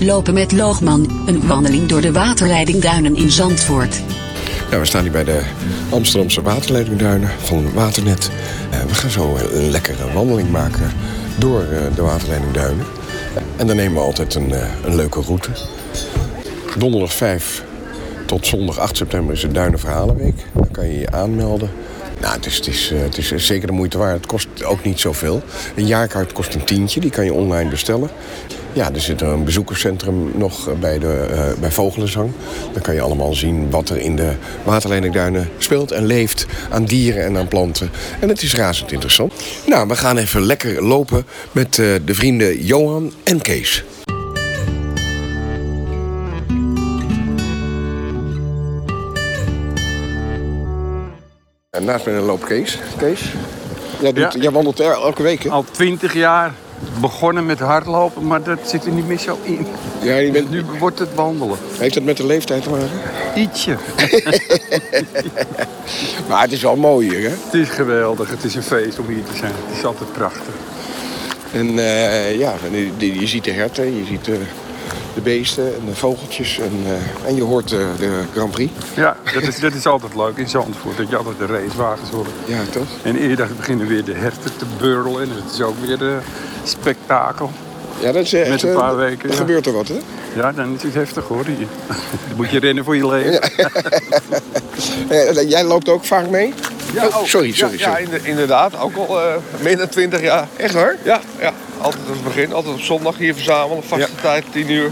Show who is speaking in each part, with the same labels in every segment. Speaker 1: Lopen met Loogman, een wandeling door de waterleiding Duinen in Zandvoort.
Speaker 2: Ja, we staan hier bij de Amsterdamse waterleidingduinen van Waternet. Eh, we gaan zo een lekkere wandeling maken door eh, de waterleidingduinen. En dan nemen we altijd een, eh, een leuke route. Donderdag 5 tot zondag 8 september is de Duinenverhalenweek. Dan kan je je aanmelden. Nou, het is, het, is, eh, het is zeker de moeite waard. Het kost ook niet zoveel. Een jaarkaart kost een tientje, die kan je online bestellen. Ja, er zit een bezoekerscentrum nog eh, bij, de, eh, bij Vogelenzang. Dan kan je allemaal zien wat er in de waterleidingduinen speelt en leeft aan dieren en aan planten. En het is razend interessant. Nou, we gaan even lekker lopen met eh, de vrienden Johan en Kees. En naast mij loopt Kees. Kees, jij, doet,
Speaker 3: Ja.
Speaker 2: jij wandelt er elke week, hè?
Speaker 3: Al 20 jaar begonnen met hardlopen, maar dat zit er niet meer zo in.
Speaker 2: Ja, je bent,
Speaker 3: Nu wordt het wandelen.
Speaker 2: heeft dat met de leeftijd te maken?
Speaker 3: Ietsje.
Speaker 2: Maar het is wel mooi hier, hè?
Speaker 3: Het is geweldig. Het is een feest om hier te zijn. Het is altijd prachtig.
Speaker 2: En eh, ja, en je- je, je ziet de herten, je ziet de, de beesten en de vogeltjes en, eh, en je hoort de, de Grand Prix.
Speaker 3: Ja, dat is, dat is altijd leuk in Zandvoort. Dat je altijd de racewagens hoort.
Speaker 2: Ja, toch?
Speaker 3: En eerder beginnen weer de herten te beurlen. En het is ook weer een spektakel.
Speaker 2: Ja, dat is echt...
Speaker 3: Met een
Speaker 2: eh,
Speaker 3: paar
Speaker 2: dan-
Speaker 3: weken,
Speaker 2: Dan
Speaker 3: ja.
Speaker 2: gebeurt er wat, hè?
Speaker 3: Ja, dan is het heftig hoor. hier. Dan moet je rennen voor je leven.
Speaker 2: Eh, eh, jij loopt ook vaak mee?
Speaker 4: Ja,
Speaker 2: Oh,
Speaker 4: oh,
Speaker 2: sorry,
Speaker 4: ja,
Speaker 2: sorry,
Speaker 4: Ja,
Speaker 2: sorry.
Speaker 4: inder- inderdaad. Ook al eh, meer dan 20 jaar.
Speaker 2: Echt waar?
Speaker 4: Ja, ja. Altijd als het begin. Altijd op zondag hier verzamelen. Vaste
Speaker 2: Ja.
Speaker 4: tijd, 10 uur.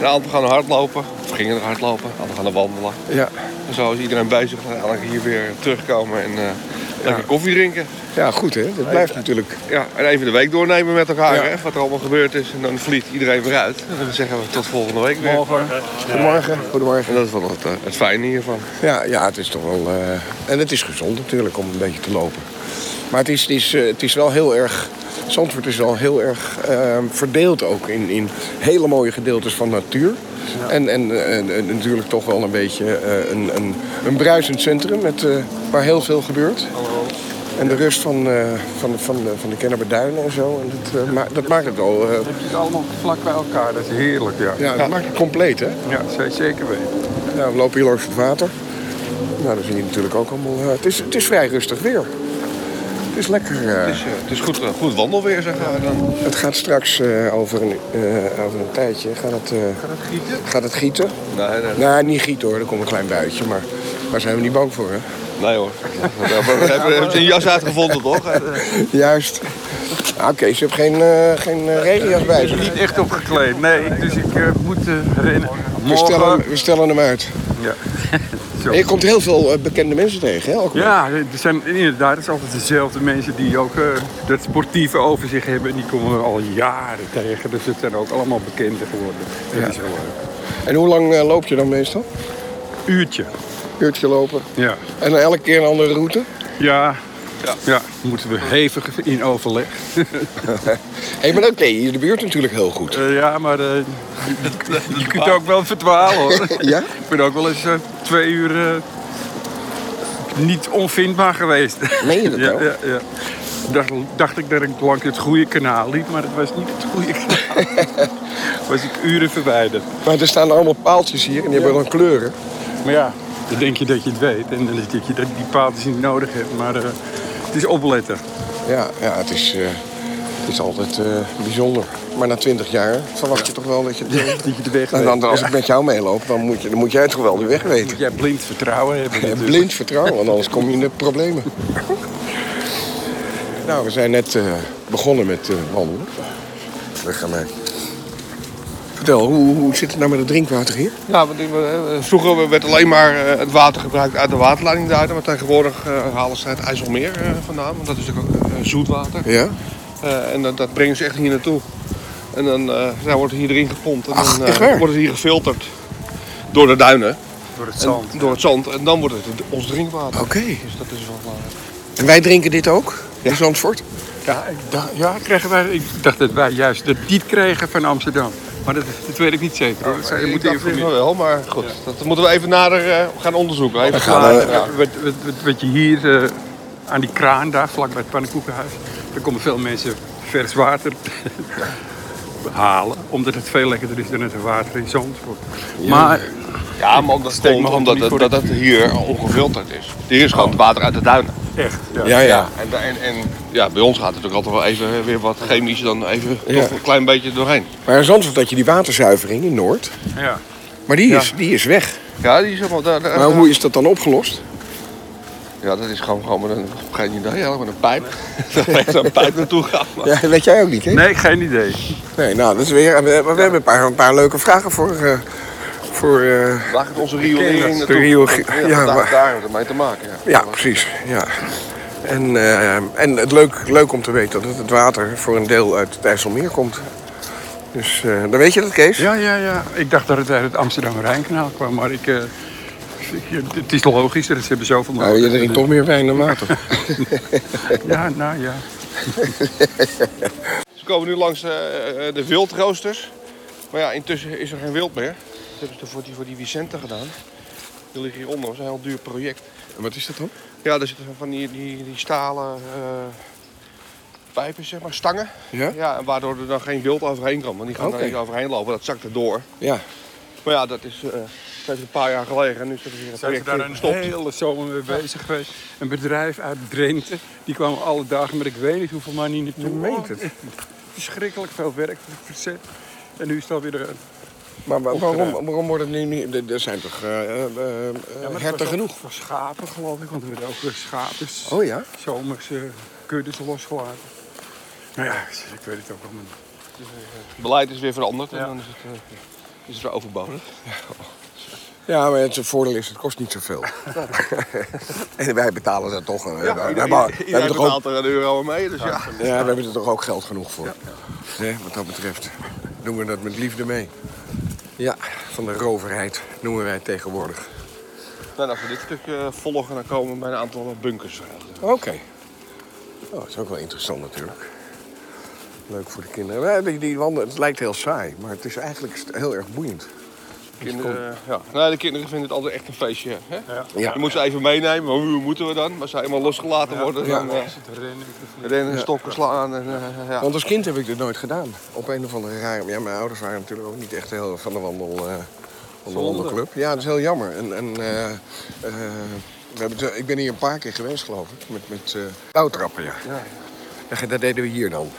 Speaker 4: Een aantal gaan hardlopen. Of gingen er hardlopen. Anderen gaan er wandelen.
Speaker 2: Ja.
Speaker 4: En zo is iedereen bezig. En eigenlijk hier weer terugkomen en eh, lekker koffie drinken.
Speaker 2: Ja, goed, hè? Dat blijft natuurlijk...
Speaker 4: Ja, en even de week doornemen met elkaar.
Speaker 2: Ja.
Speaker 4: Hè, wat er allemaal gebeurd is. En dan vliegt iedereen weer uit. En dan zeggen we tot volgende week weer.
Speaker 3: Morgen.
Speaker 2: Goedemorgen. Goedemorgen.
Speaker 4: En dat is wel het, eh, het fijne hiervan.
Speaker 2: Ja, ja, het is toch wel... eh, En het is gezond natuurlijk om een beetje te lopen. Maar het is, het is, eh, het is wel heel erg... Zandvoort is wel heel erg eh, verdeeld ook in, in hele mooie gedeeltes van natuur. En, en, eh, en natuurlijk toch wel een beetje eh, een, een, een bruisend centrum met, eh, waar heel veel gebeurt. En de rust van, eh, van, van, de- van de Kennemerduinen en zo. En dat, eh, ma- dat maakt het wel... eh,
Speaker 3: Het is allemaal vlak bij elkaar. Dat is heerlijk, ja.
Speaker 2: ja, dat maakt het compleet, hè?
Speaker 3: Ja, zou je zeker weten.
Speaker 2: Ja, we lopen hier langs het water. Nou, dan zie je natuurlijk ook allemaal... eh, het, is, het is vrij rustig weer. Het is lekker. eh.
Speaker 4: Dus, eh, het is goed, eh, goed wandelweer, zeggen we dan.
Speaker 2: het gaat straks eh, over, een, eh, over een tijdje... Gaat het, eh,
Speaker 4: Gieten?
Speaker 2: gaat het gieten?
Speaker 4: Nee, nee,
Speaker 2: Nou, niet gieten hoor. Er komt een klein buitje. Maar daar zijn we niet bang voor, hè?
Speaker 4: Nee hoor. We hebben, we hebben een jas uitgevonden toch? Eh,
Speaker 2: Juist. Nou, Kees, je hebt geen, eh, geen eh, regenjas bij zich.
Speaker 3: Niet echt opgekleed, nee. Dus ik eh, moet eh, rennen.
Speaker 2: We stellen, hem,
Speaker 3: Morgen.
Speaker 2: we stellen hem uit.
Speaker 3: Ja. Zo.
Speaker 2: En je komt heel veel eh, bekende mensen tegen, hè? Ook
Speaker 3: Ja, er zijn inderdaad het is altijd dezelfde mensen die ook eh, dat sportieve over zich hebben. Die komen we al jaren tegen. Dus het zijn ook allemaal bekenden geworden. Dat is wel leuk.
Speaker 2: En hoe lang eh, loop je dan meestal?
Speaker 3: Uurtje.
Speaker 2: Uurtje lopen.
Speaker 3: Ja.
Speaker 2: En dan elke keer een andere route?
Speaker 3: ja. Ja. moeten we hevig in overleg.
Speaker 2: Hé, hey, maar dat ken je hier de buurt natuurlijk heel goed.
Speaker 3: Eh, ja, maar eh, je, je kunt ook wel verdwalen hoor.
Speaker 2: Ja?
Speaker 3: Ik ben ook wel eens eh, twee uur eh, niet onvindbaar geweest.
Speaker 2: Meen je dat
Speaker 3: ja,
Speaker 2: nou?
Speaker 3: ja, ja. Dacht, dacht ik dat ik langs het goede kanaal liep, maar het was niet het goede kanaal. was ik uren verwijderd.
Speaker 2: Maar er staan allemaal paaltjes hier en die hebben dan kleuren.
Speaker 3: Maar ja, dan denk je dat je het weet en dan denk je dat je die paaltjes niet nodig hebt. Maar eh, het is opletten.
Speaker 2: Ja, ja het, is, eh, het is altijd eh, bijzonder. Maar na twintig jaar verwacht je toch wel dat je...
Speaker 3: Dat je de weg
Speaker 2: En
Speaker 3: weet.
Speaker 2: dan, als ik met jou meeloop, dan moet, je, dan moet jij toch wel de weg weten.
Speaker 3: Moet jij blind vertrouwen hebben
Speaker 2: En
Speaker 3: natuurlijk.
Speaker 2: blind vertrouwen, want anders kom je in de problemen. Nou, we zijn net eh, begonnen met eh, wandelen. We gaan mee. Vertel, hoe, hoe zit het nou met het drinkwater hier?
Speaker 4: Nou, want ik, eh, vroeger werd alleen maar eh, het water gebruikt uit de waterleiding daaruit. Maar tegenwoordig eh, halen ze het IJsselmeer eh, vandaan. Want dat is natuurlijk ook eh, zoet water.
Speaker 2: Ja?
Speaker 4: Eh, en dat, dat brengen ze echt hier naartoe. En dan eh, nou, wordt het hier erin gepompt. En
Speaker 2: Ach,
Speaker 4: dan
Speaker 2: echt
Speaker 4: eh,
Speaker 2: waar?
Speaker 4: wordt het hier gefilterd. Door de duinen.
Speaker 3: Door het
Speaker 4: en
Speaker 3: zand.
Speaker 4: Door het zand. En dan wordt het ons drinkwater.
Speaker 2: Oké.
Speaker 4: Dus dat is wel belangrijk.
Speaker 2: En wij drinken dit ook? In Zandvoort?
Speaker 3: Ja, ik dacht, ja, kregen wij, ik dacht dat wij juist dat niet kregen van Amsterdam. Maar dat, dat weet ik niet zeker. hoor. Dat zou je
Speaker 4: Ik
Speaker 3: moeten
Speaker 4: dacht
Speaker 3: informeren.
Speaker 4: van wel, maar goed. Dat moeten we even nader eh, gaan onderzoeken. Even
Speaker 2: gaan
Speaker 4: nader,
Speaker 2: we-
Speaker 4: ja.
Speaker 3: eh, Wat, wat, wat, wat je hier eh, aan die kraan daar, vlakbij het pannenkoekenhuis, daar komen veel mensen vers water halen. Omdat het veel lekkerder is dan het water in Zandvoort. Maar
Speaker 4: Ja, maar omdat,
Speaker 3: Steek mijn
Speaker 4: komt
Speaker 3: hand
Speaker 4: omdat
Speaker 3: niet
Speaker 4: het,
Speaker 3: voor
Speaker 4: dat
Speaker 3: de
Speaker 4: het hier ongefilterd is. Hier is gewoon het water uit de duinen.
Speaker 3: echt, ja.
Speaker 2: Ja, ja.
Speaker 4: En, da- en, en ja, bij ons gaat het ook altijd wel even eh, weer wat chemisch dan even
Speaker 2: Ja.
Speaker 4: toch een klein beetje doorheen.
Speaker 2: Maar in Zandvoort had je die waterzuivering in Noord.
Speaker 3: ja.
Speaker 2: Maar die
Speaker 4: Ja.
Speaker 2: is, die is weg.
Speaker 4: Ja, die is helemaal daar. daar-
Speaker 2: Maar hoe is dat dan opgelost?
Speaker 4: Ja, dat is gewoon, gewoon met een, geen idee, helemaal met een pijp. Daar ligt zo'n pijp naartoe gaan.
Speaker 2: Ja, dat weet jij ook niet, hè?
Speaker 3: Nee, geen idee.
Speaker 2: Nee, nou, dat is weer. We, we hebben een paar, een paar leuke vragen voor. eh, voor eh,
Speaker 4: Waar gaat onze riolering naartoe?
Speaker 2: riool- ja,
Speaker 4: ja, daar,
Speaker 2: maar-
Speaker 4: daar heeft het mee te maken. Ja.
Speaker 2: ja, precies. Ja. En, eh, en het leuk, leuk om te weten dat het water voor een deel uit het IJsselmeer komt. Dus eh, dan weet je dat, Kees?
Speaker 3: Ja, ja, ja. Ik dacht dat het uit het Amsterdam-Rijnkanaal kwam, maar ik... eh, ik- het is logisch, er hebben zoveel
Speaker 2: Nou, je
Speaker 3: nodig.
Speaker 2: drinkt toch meer wijn dan water.
Speaker 3: Ja, nou ja.
Speaker 4: Ze komen nu langs eh, eh, de wildroosters. Maar ja, intussen is er geen wild meer. Dat hebben ze voor die, voor die Vicente gedaan. Die liggen hieronder. Dat is een heel duur project.
Speaker 2: Wat is dat dan?
Speaker 4: Ja, daar zitten van die, die, die stalen eh, pijpen, zeg maar, stangen.
Speaker 2: Ja?
Speaker 4: Ja, en waardoor er dan geen wild overheen kan. Want die gaan
Speaker 2: Oké.
Speaker 4: er niet overheen lopen, dat zakt erdoor.
Speaker 2: Ja.
Speaker 4: Maar ja, dat is eh, dat heeft een paar jaar gelegen en nu is dat weer
Speaker 3: Zijn
Speaker 4: een
Speaker 3: ze
Speaker 4: project
Speaker 3: daar een
Speaker 4: gestopt.
Speaker 3: hele zomer mee bezig geweest. Een bedrijf uit Drenthe, die kwam alle dagen, maar ik weet niet hoeveel maar niet naartoe.
Speaker 2: Je meent het.
Speaker 3: Oh, Verschrikkelijk veel werk verzet. En nu is het alweer... eh, een-
Speaker 2: Maar wa- waarom, waarom wordt het nu niet... er- Er zijn toch eh eh, eh, eh,
Speaker 3: Ja, maar het
Speaker 2: herten
Speaker 3: was ook
Speaker 2: genoeg?
Speaker 3: Voor schapen geloof ik, want er werden ook eh, schapen,
Speaker 2: Oh ja?
Speaker 3: zomers, eh, kuddes losgelaten. Nou ja, ik weet het ook allemaal niet.
Speaker 4: Het beleid is weer veranderd en
Speaker 3: Ja.
Speaker 4: dan is het, eh, is het weer overbodig.
Speaker 2: Ja, maar het voordeel is, het kost niet zoveel. en wij betalen daar toch... eh, we,
Speaker 4: ieder-
Speaker 2: hebben- we
Speaker 4: iedereen
Speaker 2: hebben toch ook,
Speaker 4: betaalt er een euro aan mee, dus ja.
Speaker 2: ja, we hebben er toch ook geld genoeg voor. Hè, wat dat betreft doen we dat met liefde mee. Ja, van de roverheid noemen wij het tegenwoordig.
Speaker 4: Nou, als we dit stuk eh, volgen, dan komen we bij een aantal eh, bunkers.
Speaker 2: Oké. Oh, dat is ook wel interessant natuurlijk. Leuk voor de kinderen. Ja, Die, die wandelen, het lijkt heel saai, maar het is eigenlijk st- heel erg boeiend.
Speaker 4: Kinderen, ja. nou, de kinderen vinden het altijd echt een feestje. Hè?
Speaker 2: Ja.
Speaker 4: Je moet ze even meenemen, maar hoe moeten we dan? Als ze eenmaal losgelaten worden,
Speaker 2: Ja.
Speaker 4: dan eh,
Speaker 3: Het rennen met de vlieg.
Speaker 4: rennen, stokken slaan. En, eh, ja.
Speaker 2: Want als kind heb ik dit nooit gedaan. Op een of andere rare... Ja, mijn ouders waren natuurlijk ook niet echt heel van de wandel... eh van de wandelclub. Ja, dat is heel jammer. En, en, eh, eh, we hebben het- ik ben hier een paar keer geweest, geloof ik. Met, met eh, touwtrappen, ja. ja. Dat deden we hier dan.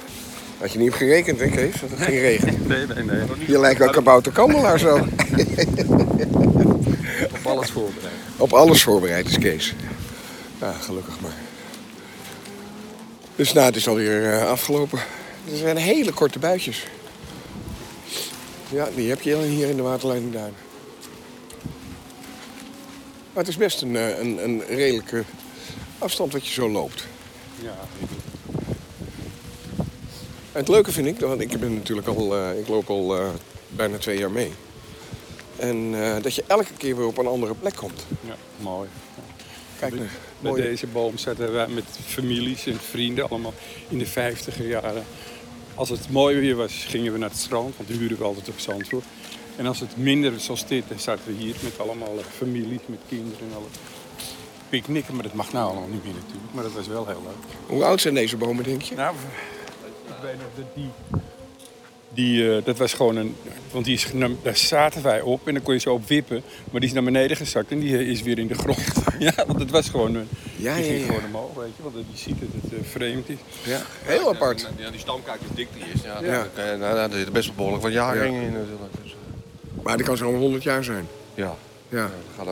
Speaker 2: Had je niet op gerekend, hè, Kees? Dat het ging regenen.
Speaker 3: Nee, nee, nee.
Speaker 2: Je lijkt wel kabouterkandelaar zo.
Speaker 4: Op alles voorbereid.
Speaker 2: Op alles voorbereid is Kees. Ja, gelukkig maar. Dus nou, het is alweer eh, afgelopen. Er zijn hele korte buitjes. Ja, die heb je hier in de Waterleidingduin. Maar het is best een, eh, een, een redelijke afstand wat je zo loopt.
Speaker 3: Ja,
Speaker 2: En het leuke vind ik, want ik, ben natuurlijk al, eh, ik loop al eh, bijna twee jaar mee. En eh, dat je elke keer weer op een andere plek komt.
Speaker 3: ja, mooi.
Speaker 2: Kijk nou, nu.
Speaker 3: Bij
Speaker 2: Mooi.
Speaker 3: deze boom zaten wij met families en vrienden allemaal in de vijftiger jaren. Als het mooi weer was, gingen we naar het strand, want huurden we altijd op Zandvoort. En als het minder was zoals dit, dan zaten we hier met allemaal eh, families, met kinderen en alle picknicken. Maar dat mag nou allemaal niet meer natuurlijk, maar dat was wel heel leuk.
Speaker 2: Hoe oud zijn deze bomen, denk je?
Speaker 3: Nou, ik weet nog dat die... Die, eh, dat was gewoon een... Want die is, genam- daar zaten wij op en dan kon je zo op wippen. Maar die is naar beneden gezakt en die eh, is weer in de grond. ja, want het was gewoon een...
Speaker 2: Ja,
Speaker 3: die
Speaker 2: ja,
Speaker 3: ging
Speaker 2: ja.
Speaker 3: gewoon omhoog, weet je. Want je ziet dat het eh, vreemd is.
Speaker 2: Ja, heel apart.
Speaker 4: Ja, die stamkijk is dik die is. Ja,
Speaker 2: Ja.
Speaker 4: Dan, kan je- nou, nou, er zitten best wel behoorlijk wat jaren in natuurlijk. Dus, eh,
Speaker 2: Maar die kan zo'n 100 jaar zijn.
Speaker 4: ja.
Speaker 2: Ja.
Speaker 4: dat gaat